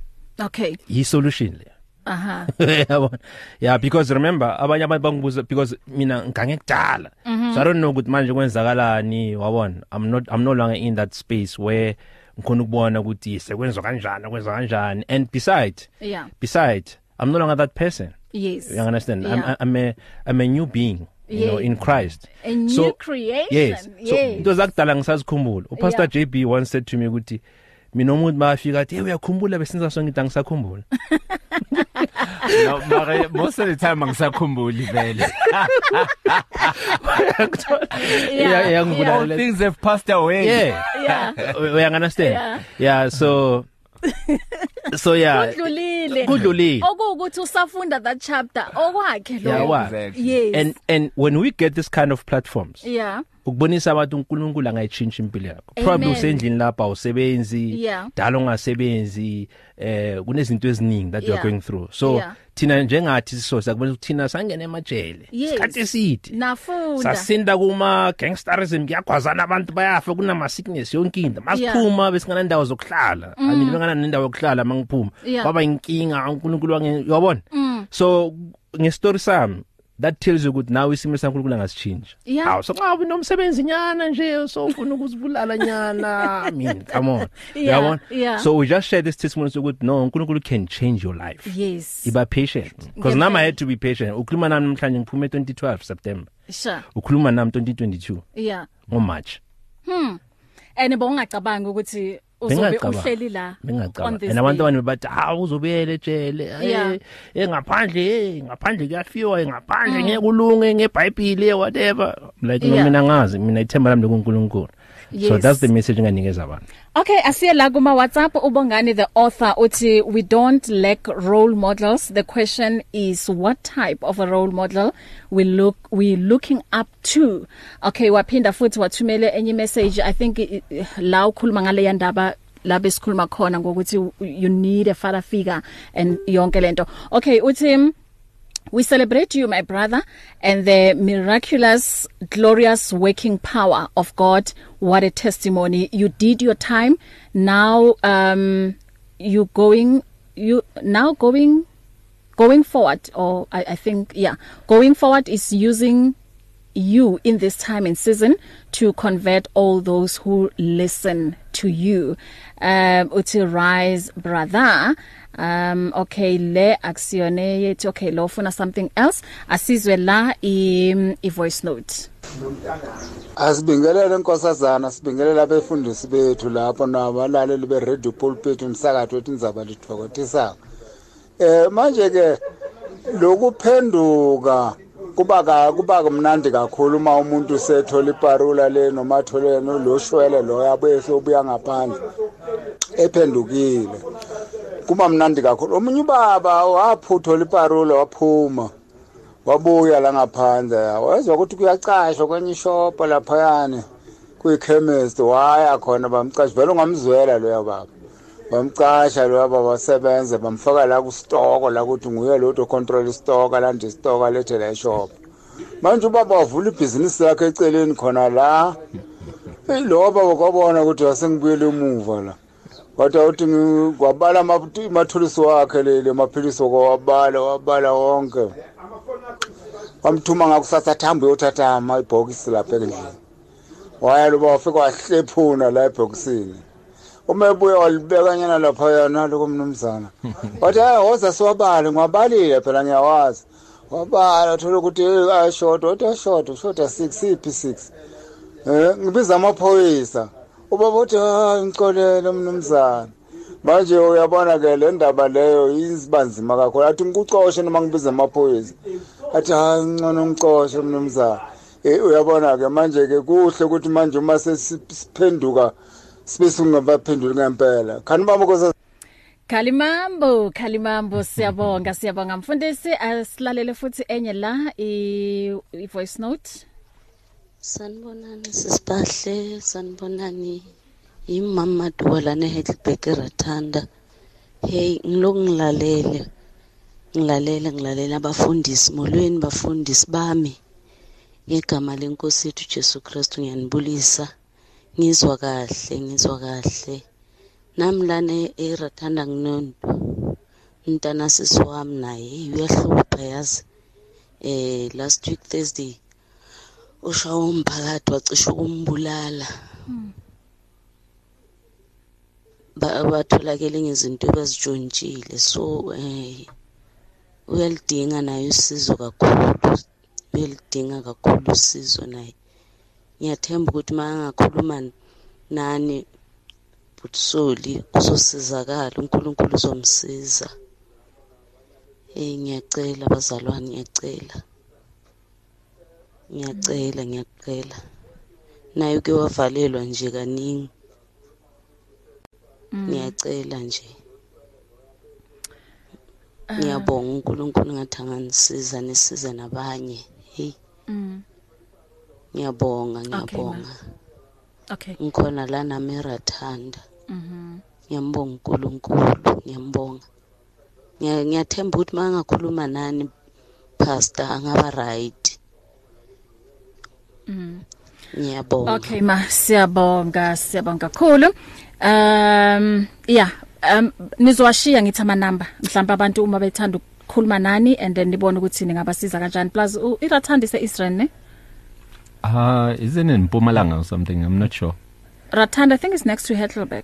okay yi solution le aha yabona yeah because remember abanye abantu bangibuza because mina ngange kudala Mhm. so i don't know ukuthi manje kwenzakalani wabona i'm not i'm no longer in that space where ngikhona ukubona ukuthi sekwenzwa kanjani kwenza kanjani and beside yeah beside i'm no longer that person yes you understand Yeah. i'm i'm a i'm a new being you know Yeah. in Christ A new creation, yes so yes. into zakudala ngisazikhumbula upastor Yeah. JB once said to me ukuthi mina umuntu mafika athi hey uyakhumbula besenza sonke into angisakhumbula no, mara, most of the time angisakhumbuli vele Yeah, all iyangibulala things have passed away yeah yeah uyang understand yeah, yeah so so yeah udlulile Kudlulile. okuwukuthi usafunda that chapter okwakhe Yeah, lo wa- Exactly. yes and and when we get this kind of platforms yeah ukubonisa abantu uNkulunkulu angayitshintsha impilo yakho probably Amen. usendlini lapha usebenzi Yeah. dala ungasebenzi eh kunezinto eziningi that you are Yeah. going through so Yeah. thina njengathi so sakubona ukuthi thina sangena emajele Yes. isikhathi eside nafunda sasinda kuma gangsterism kuyagwazana abantu bayafa kunama sickness yonke into masiphuma bese ngana indawo zokuhlala i mean bengana nendawo yokuhlala mangiphuma Mm. Yeah. Mm. kwaba inkinga uNkulunkulu wange yabona so nge story sami that tells you ukuthi nawe isimo sankulunkulu angasichinja Yeah. hawu so xa unomsebenzi nyana nje so ufuna ukuzibulala nyana i mean come on Yeah, Uyabona? yeah. so we just share this testimony sokuthi no uNkulunkulu can change your life yes iba patient because now i Ngempela. had to be patient ukhuluma nami namhlanje ngiphume 2012 September sure ukhuluma nami 2022 yeah ngoMarch and bowungacabangi ukuthi uzobe Bengingacabanga. uhleli la on bengacabanga this and abantu day. abanye bathi ha uzobuyela ejele Yeah. eh eh, ngaphandle eh ngaphandle kuyafiwa eh, ngaphandle ngekulunge ngebhayibheli eh, whatever I'm like no Mm. Yeah. mina ngazi mina ithemba lami lokuNkulunkulu so Yes. that's the message enganikeza abantu Okay, asiye la kuma WhatsApp ubongani the author uthi we don't lack role models. The question is what type of a role model we look we looking up to. Okay, waphinda futhi wathumele enye message. I think i- i- la ukhuluma ngale yandaba la besikhuluma khona ngokuthi you need a father figure and yonke lento. Okay, uthi mm, We celebrate you, my brother, and the miraculous, glorious working power of God. What a testimony. You did your time. Now um you going you now going going forward or I, I think yeah, going forward is using you in this time and season to convert all those who listen to you um uthi rise brother um okay le aksione yethu okay lo ufuna something else asizwe la i, mm, i voice note asibingelele inkosazana sibingelele abefundisi bethu lapho nabalaleli beredio pulpit umsakathi wethu indzaba lithokotisako um manje-ke lokuphenduka kuba ka- kuba kumnandi kakhulu uma umuntu usethola iparula le noma athole no- lo shwele loyo abuye seyobuya ngaphandle ephendukile kuba mnandi kakhulu omunye ubaba waphuthola iparula waphuma wabuya la ngaphandle wezwa ukuthi kuyacashwa kwenye ishopo laphayani kwikhemesti waya khona bamcasha vele ungamzwela loya baba bamcasha loya baba wasebenza bamfaka la kustoko la kuthi nguye lodwa ocontrola istoka lanje istoka lethe la ishopo manje ubaba wavula ibhizinisi lakhe eceleni khona la eyi lowo baba kwabona ukuthi wasengibuyele emuva la wathi awuthi ngi- wabala amatu- amathulusi wakhe lele maphilisi okwawabala wabala wonke wamthuma ngakusasa thambo uyothatha ama- ibhokisi lapha endlini waya loba wafika wahlephuna la ebhokisini uma ebuya walibekanyana laphayana loko mnumzana wathi hayi woza siwabale ngiwabalile phela ngiyawazi wabala thola ukuthi "Eh, ayashoda wathi ayashoda ushoda six iphi six um ngibiza amaphoyisa ubaba uthi hayi ngicolele mnumzana manje uyabona ke le ndaba leyo isibanzima kakhulu athi ngikucoshe noma ngibiza amaphoyisa athi hayi ngcono ngicoshe mnumzana Eh, uyabona ke manje ke kuhle ukuthi manje uma sesiphenduka sibe singabaphenduli ngempela khani bami kosa Kalimambo kalimambo siyabonga siyabonga mfundisi asilalele futhi enye la i, i voice note Sanibonani sisibahle, sanibonani. Imama Dwala neHedelberg Rathanda. Hey, ngilokungilalela. Ngilalela ngilalela abafundisi molweni bafundisi bami. Ngegama lenkosi yethu Jesu Kristu ngiyanibulisa. Ngizwa kahle, ngizwa kahle. Nami lana eRathanda nginondo. Umntana sisi wami naye hey, uyahlupha yazi. Eh last week Thursday ushawa umphakathi wacisha ukumbulala Ba- batholakele ngezinto abazijontshile so eh uyalidinga naye usizo kakhulu uyalidinga kakhulu usizo naye ngiyathemba ukuthi uma angakhuluma nani butsoli uzosizakala unkulunkulu uzomsiza um ngiyacela bazalwane ngiyacela ngiyacela ngiyacela naye uke wavalelwa nje kaningi ngiyacela nje ngiyabonga uNkulunkulu ngathi anganisiza nisize nabanye hey ngiyabonga ngiyabonga okay ngikhona la nami erathanda ngiyambonga uNkulunkulu ngiyambonga Ngiya- ngiyathemba ukuthi mangakhuluma nani pastor angaba right ngiyabonga Okay ma siyabonga siyabonga kakhulu. Um yeah um nizowashiya ngithi ama number mhlawumbe abantu uma bethanda ukukhuluma nani and then nibone ukuthi ningabasiza kanjani plus u- irathandise Israel ne Uh, isn't it in Pumalanga or something? I'm not sure. Rathanda I think is next to Heidelberg.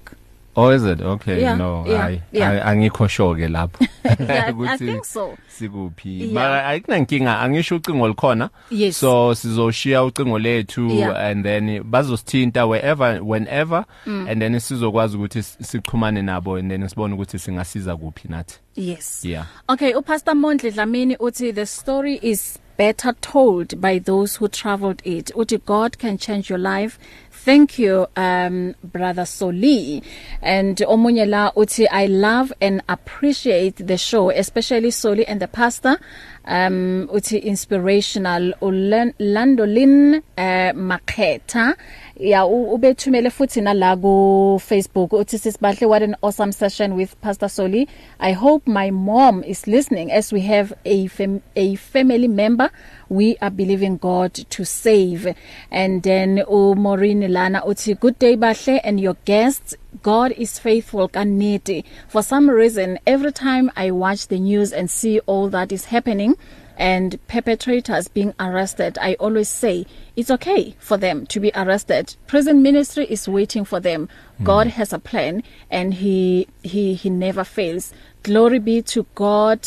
Oh, is it? Okay, Yeah, no. yeah, I, yeah. I, angikho sure ke lapho. Yeah, I- I Ukuthi think so. Sikuphi. Yeah. But ayikunankinga angisho ucingo likhona. Yes. So sizoshiya ucingo lethu Yeah. and then bazosithinta wherever whenever mm. and then sizokwazi ukuthi si- sichumane nabo and then sibone ukuthi singasiza kuphi nathi. Yes. Yeah. Okay, uPastor Mondle Dlamini uthi the story is better told by those who traveled it. Uthi God can change your life. Thank you um brother Soli and omunye la uthi I love and appreciate the show especially Soli and the pastor um uthi inspirational ulandolin uh, Makhetha ya u- ubethumele futhi nala ku Facebook uthi sisibahle what an awesome session with Pastor Soli I hope my mom is listening as we have a fam a family member we are believing God to save and then uMorine Lana uthi good day bahle and your guests God is faithful kanete for some reason every time I watch the news and see all that is happening and perpetrators being arrested i always say it's okay for them to be arrested prison ministry is waiting for them mm. god has a plan and he he he never fails glory be to god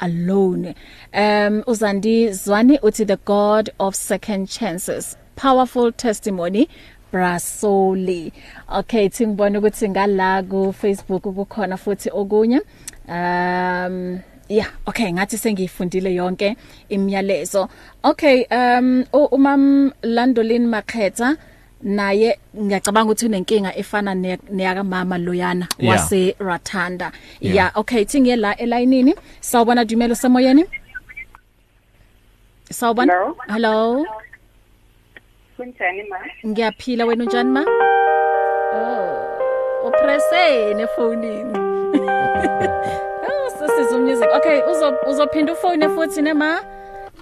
alone um uzandi zwani uthi the god of second chances powerful testimony brasoli okay singibona ukuthi ngala ku facebook kukhona futhi okunye um yeah okay ngathi sengiyifundile yonke imiyalezo okay um u- umam Landolin Makhetha naye ngiyacabanga ukuthi unenkinga efana ne- neyaka mama loyana Yeah. wase Rathanda yeah okay thingiye la elayinini sawubona dumelo semoyeni sawubona Hello? hello kunjani ma ngiyaphila wena unjani ma oh upresene phonini oh sisizo music okay uzo uzophinda ufone futhi ne ma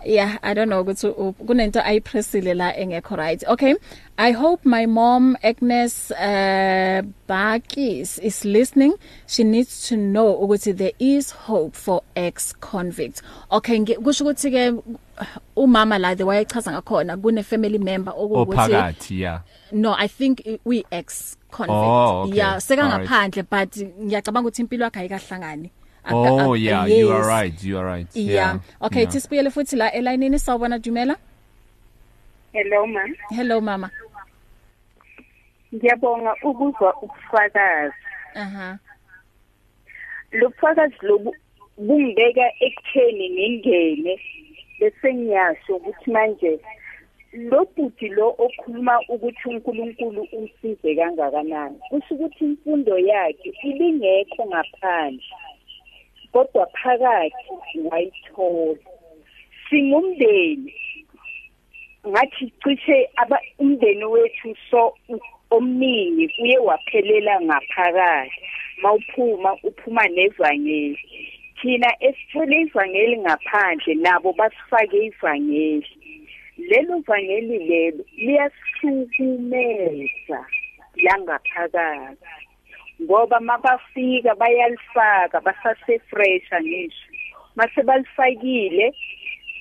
yeah i don't know ukuthi u- kunento ayipressile la engekho right okay i hope my mom agnes uh bakis is listening she needs to know ukuthi there is hope for ex convicts okay nge- kusho ukuthi ke umama la the wayechaza ngakhona kune family member okuwukuthi ophakathi Oh, yeah no i think i- we ex convict Oh, okay. yeah Alright. sekangaphandle but ngiyacabanga ukuthi impilo yakhe ayikahlangani Aka- oh ak- yeah yes. you are right you are right yeah okay tisibuyele futhi la elayinini sawubona dumela hello ma hello mama ngiyabonga ukuzwa ubufakazi aha lobufakazi lobu bungibeka ekutheni ngingene bese ngiyasho ukuthi manje lo bhuti lo okhuluma ukuthi uNkulunkulu umsize kangakanani kusho ukuthi imfundo yakhe ibingekho ngaphandle kodwa phakathi wayithola singumndeni ngathi cishe aba- umndeni wethu so u- omningi uye waphelela ngaphakathi mawuphuma uphuma nevangeli thina esithole ivangeli ngaphandle nabo basifake ivangeli lelo vangeli lelo liyasukumeza langaphakathi ngoba mabafika bayalifaka basasefresha ngisho mase balifakile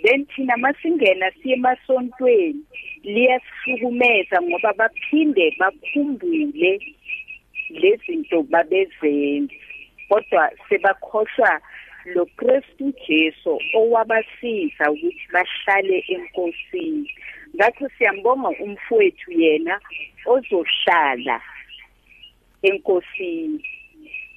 then thina masingena siye emasontweni liyasihlukumeza ngoba baphinde bakhumbule lezinto babezenza kodwa sebakhohlwa lo Kristu Jesu owabasiza ukuthi bahlale enkosini ngakho siyambonga umfowethu yena ozohlala enkosini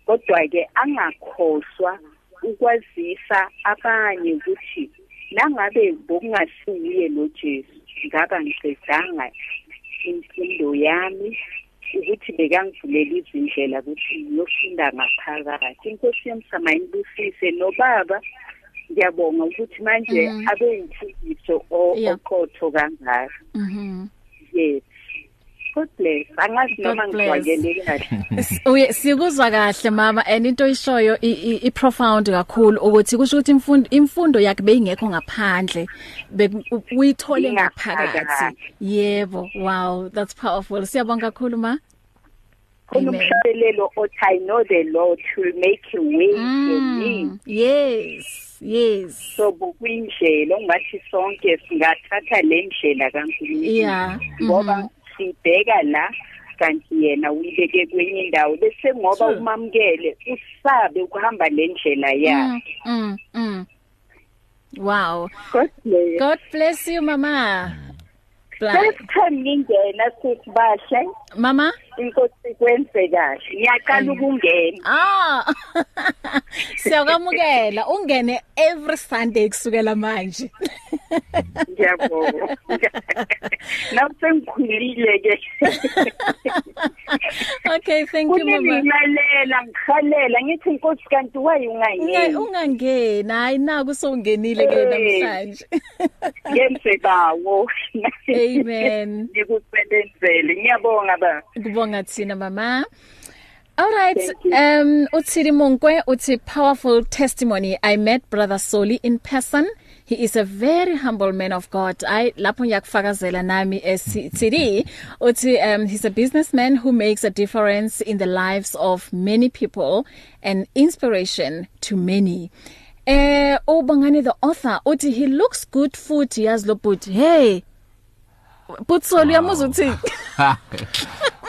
kodwa ke angakhohlwa ukwazisa abanye ukuthi nangabe bokungasiye lo Jesu ngaba ngiqedanga imfundo yami ukuthi bekangivulela izindlela ukuthi ngiyofunda ngaphakathi inkosi yomsama inibusise nobaba ngiyabonga ukuthi manje Mhm. abe yimfundiso Yeah. oqotho kangaka mhm Mm-hmm. yes God bless angazi God noma bless. ngiwakeleki kahle uye sikuzwa kahle mama and into ishoyo i- i i profound kakhulu ukuthi kusho ukuthi imfundo imfundo yakhe beyingekho ngaphandle Beku- u- uyithole ngaphakathi Ingaphakathi. yebo wow that's powerful siyabonga kakhulu ma khona Amen. umhlelelo othi I know the Lord will make a way for me Mm, yes yes so bukuyindlela ongathi sonke singathatha le ndlela kaNkulunkulu Yeah, ngoba mhm. sibheka la kanti yena uyibeke kwenye indawo bese ngoba True. umamkele usabe ukuhamba le ndlela yakhe Mm, mm, mm. Wow. God bless Mm. God bless you mama. Bla- First time ngingena sisibahle mama? inkosi kwenze kahle ngiyaqala ukungena Ah. siyakwamukela ungene every sunday kusukela manje ngiyabonga nawusengikhulile ke okay thank you mama kunengilalela ngihalela ngithi inkosi kanti waye Unga- ungayiyeni ungangena hayi naku sowungenile ke Eh. namhlanje ngemsebawo Amen. ngikusebenzele ngiyabonga ba kubonga thina mama All right. Thank you. Um utsiri Monkwe uthi powerful testimony. I met brother Soli in person. He is a very humble man of God. I lapho ngiyakufakazela nami esitiri uthi um he's a businessman who makes a difference in the lives of many people and inspiration to many. Eh ubangani the author uthi he looks good futhi yazi lo but hey but Soli uyamuzwa uthi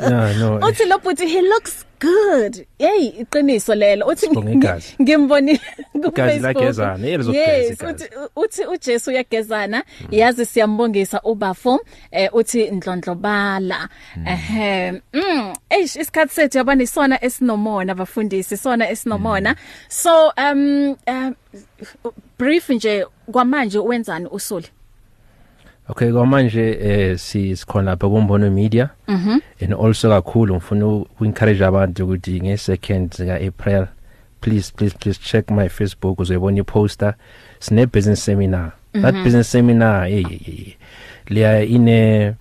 no no uthi lo bhuti he looks good hey iqiniso lelo uthi Sibonga igazi. ngimbonile Igazi liyagezana, yebo lizogeza yes igazi. uthi uthi uJesu uyagezana yazi siyambongisa ubafo eh uthi ndlondlobala Hmm. ehem mm eish isikhatsi sethu yabani sona esinomona bafundisi sona Hmm. esinomona so um um, brief nje kwamanje wenzani usuli Okay kwamanje eh si sikhona lapha kumbono media. Mhm. And also kakhulu ngifuna uku encourage abantu ukuthi nge second ka April please please please check my Facebook uzoyibona iposter sine business seminar. That business seminar hey hey, hey. leya ine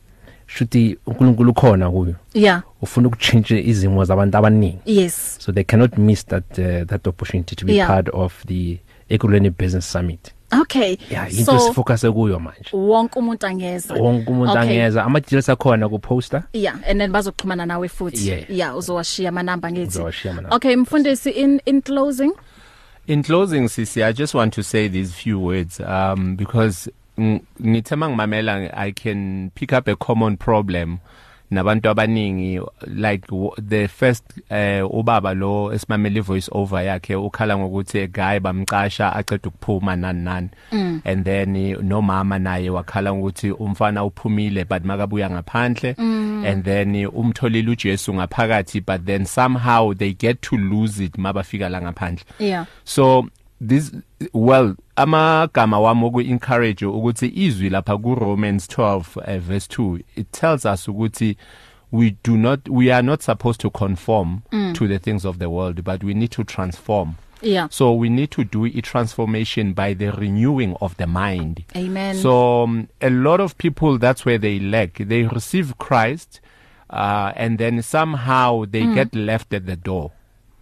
shuti uNkulunkulu khona kuyo. yeah Ufuna ukuchange izimo zabantu abaningi. yes So they cannot miss that uh, that opportunity to be Yeah. yeah. part of the Ekuleni Business Summit. okay Yeah, into sifocus kuyo manje. wonke umuntu angeza wonke umuntu Okay. angeza ama details akhona ku poster yeah and then bazoxhumana nawe futhi Yeah. yeah uzowashiya ama number ngithi Uzowashiya ama number. okay mfundisi in in closing In closing Sisi I just want to say these few words um because ng- ngithe mangimamela I can pick up a common problem nabantu abaningi like w- the first uh, ubaba lo esimamela voice over yakhe ukhala ngokuthi a guy bamcasha aqeda ukuphuma nani nani mm. and then eh, nomama naye wakhala ngokuthi umfana uphumile but makabuya ngaphandle mm. and then eh, umtholile uJesu ngaphakathi but then somehow they get to lose it mabafika la ngaphandle yeah so this well amagama wami oku encourage ukuthi izwi lapha ku Romans 12 eh, verse 2 it tells us ukuthi we do not we are not supposed to conform mm. to the things of the world but we need to transform yeah so we need to do a transformation by the renewing of the mind Amen. so um, a lot of people that's where they lack they receive Christ uh, and then somehow they mm. get left at the door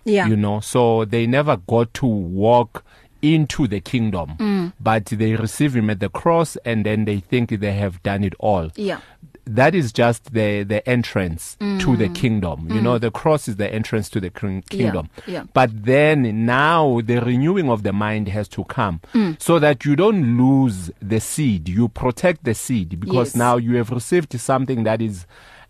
yeah you know so they never got to walk into the kingdom mm. but they receive him at the cross and then they think they have done it all yeah that is just the the entrance mm. to the kingdom mm. you know the cross is the entrance to the king- kingdom yeah. but then now the renewing of the mind has to come mm. so that you don't lose the seed you protect the seed because Yes. now you have received something that is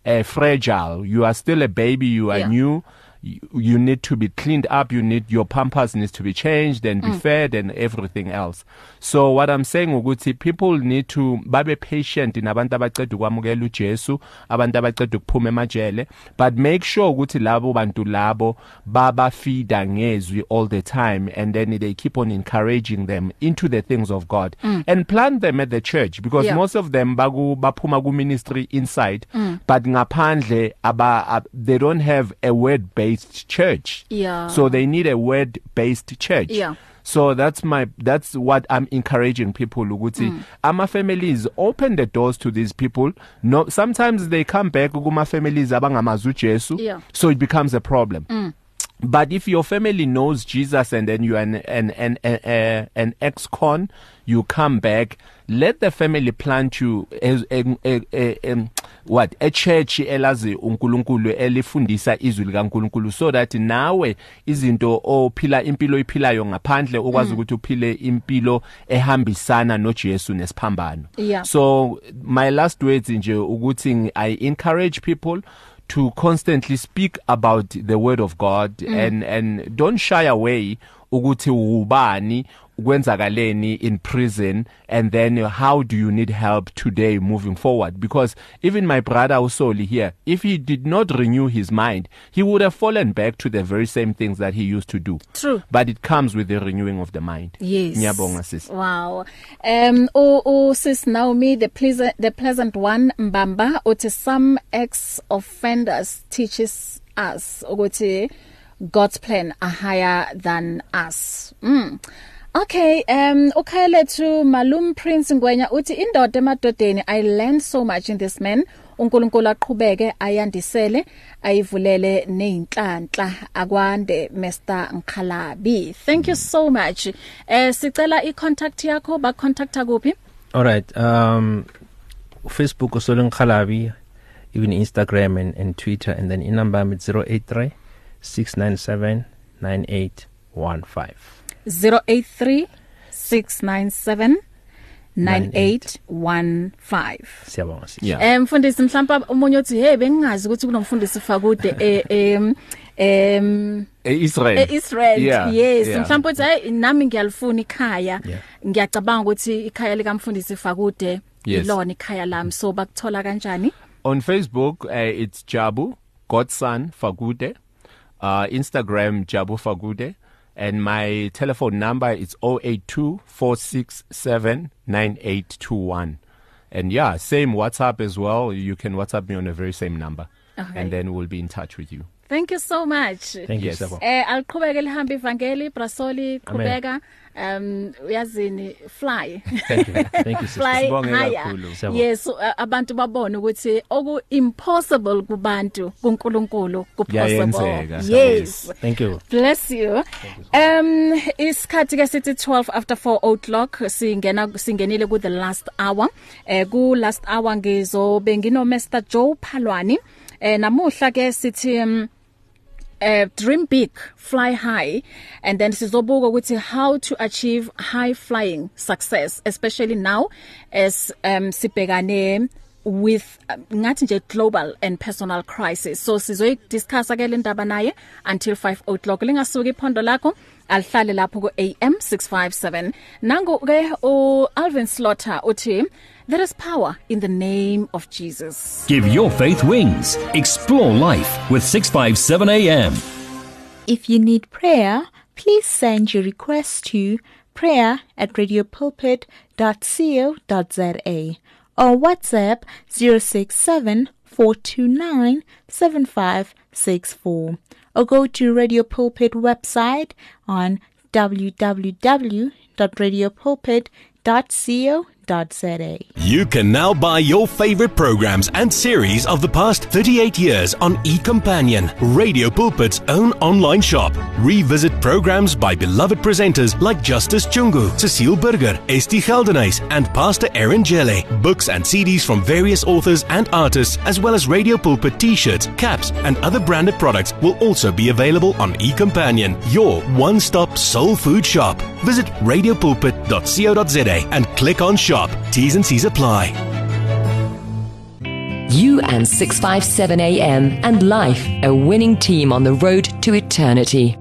uh, fragile you are still a baby you are Yeah. new you, you need to be cleaned up you need your pampers needs to be changed and be mm. fed and everything else so what i'm saying ukuthi people need to babe patient nabantu abaceda ukwamukela uJesu abantu abaceda ukuphuma emajele but make sure ukuthi labo bantu labo baba feeda ngezwi all the time and then they keep on encouraging them into the things of God mm. and plant them at the church because Yeah. most most of them baku baphuma ku ministry inside mm. but ngaphandle aba ab, they don't have a word based church Yeah. so they need a word based church Yeah. so that's my that's what i'm encouraging people ukuthi mm. ama families open the doors to these people no sometimes they come back kuma families abangamazi uJesu Yeah. so it becomes a problem mm. But if your family knows Jesus and then you are an an an an, uh, an ex-con, you come back. Let the family plant you as a, a, a, a what a church elazi uNkulunkulu elifundisa izwi likaNkulunkulu so that nawe izinto ophila impilo iphilayo ngaphandle ukwazi ukuthi uphile impilo ehambisana noJesu nesiphambano. Yeah. So my last words nje ukuthi I encourage people to constantly speak about the word of God mm. and and don't shy away ukuthi ubani kwenzakaleni in prison and then how do you need help today moving forward because even my brother Usoli here if he did not renew his mind he would have fallen back to the very same things that he used to do True. but it comes with the renewing of the mind Yes. ngiyabonga sis Wow. Um oh oh sis Naomi the pleasant the pleasant one Mbamba uthi some ex offenders teaches us ukuthi God's plan are higher than us. Mm. Okay, um ukhayele to Malum Prince Ngwenya uthi indoda emadodeni I learned so much in this man. uNkulunkulu aqhubeke ayandisele ayivulele nezinhlanhla akwande Mr Nkhalabi thank you so much eh sicela icontact yakho ba contacta kuphi All right. Um Facebook Usoleng Khalabi, even Instagram and, and Twitter and then in number I'm at 083 697 9815. 083 697 9815 Siyabonga sis. Yeah. Eh mfundisi mhlamba umunye uthi hey bengingazi ukuthi kunomfundisi fakude eh em em Israel eIsrael Yeah, E-, yes yeah. mhlawumbe uthi hayi nami ngiyalifuna ikhaya Yeah. ngiyacabanga ukuthi ikhaya likamfundisi fakude Yes. ilona ikhaya lami so bakuthola kanjani on Facebook uh, it's Jabu Godson Fagude uh Instagram Jabu Fagude and my telephone number is 0824679821 and yeah same WhatsApp as well you can WhatsApp me on the very same number Alright. and then we'll be in touch with you thank you so much Thank Yes. you Siyabonga. eh aliqhubeke lihamba ivangeli brasoli qhubeka um uyazini fly Thank you. Thank you sis. fly Sibonge higher kakhulu. Siyabonga. yes uh, abantu babone ukuthi oku impossible kubantu kuNkulunkulu Kuyayenzeka, kupossible siyabonga. yes Thank you. Bless you. Um isikhathi ke sithi 12 after 4 o'clock singena singenile ku the last hour. Eh ku last hour ngizo bengino Mr Joe Phalwani. Eh namuhla ke sithi um, uh, dream big fly high and then sizobuka ukuthi how to achieve high flying success especially now as um sibhekane with um, ngathi nje global and personal crisis so sizoyi discuss ke le ndaba naye until 5 o'clock lingasuki iphondo lakho alihlale lapho ku AM 657 nangu ke u Alvin Slaughter uthi there is power in the name of Jesus Give your faith wings. Explore life with 657 AM. If you need prayer, please send your request to prayer at radiopulpit.co.za or WhatsApp 067 429 7564 or go to Radio Pulpit website on www.radiopulpit.co.za. You can now buy your favorite programs and series of the past 38 years on eCompanion, Radio Pulpit's own online shop. Revisit programs by beloved presenters like Justice Chungu, Cecile Burger, Esti Geldenhuys, and Pastor Aaron Jelle. Books and CDs from various authors and artists, as well as Radio Pulpit t-shirts, caps, and other branded products will also be available on eCompanion, your one-stop soul food shop. Visit radiopulpit.co.za and click on shop. T's and C's apply. You and 657 AM and life, a winning team on the road to eternity.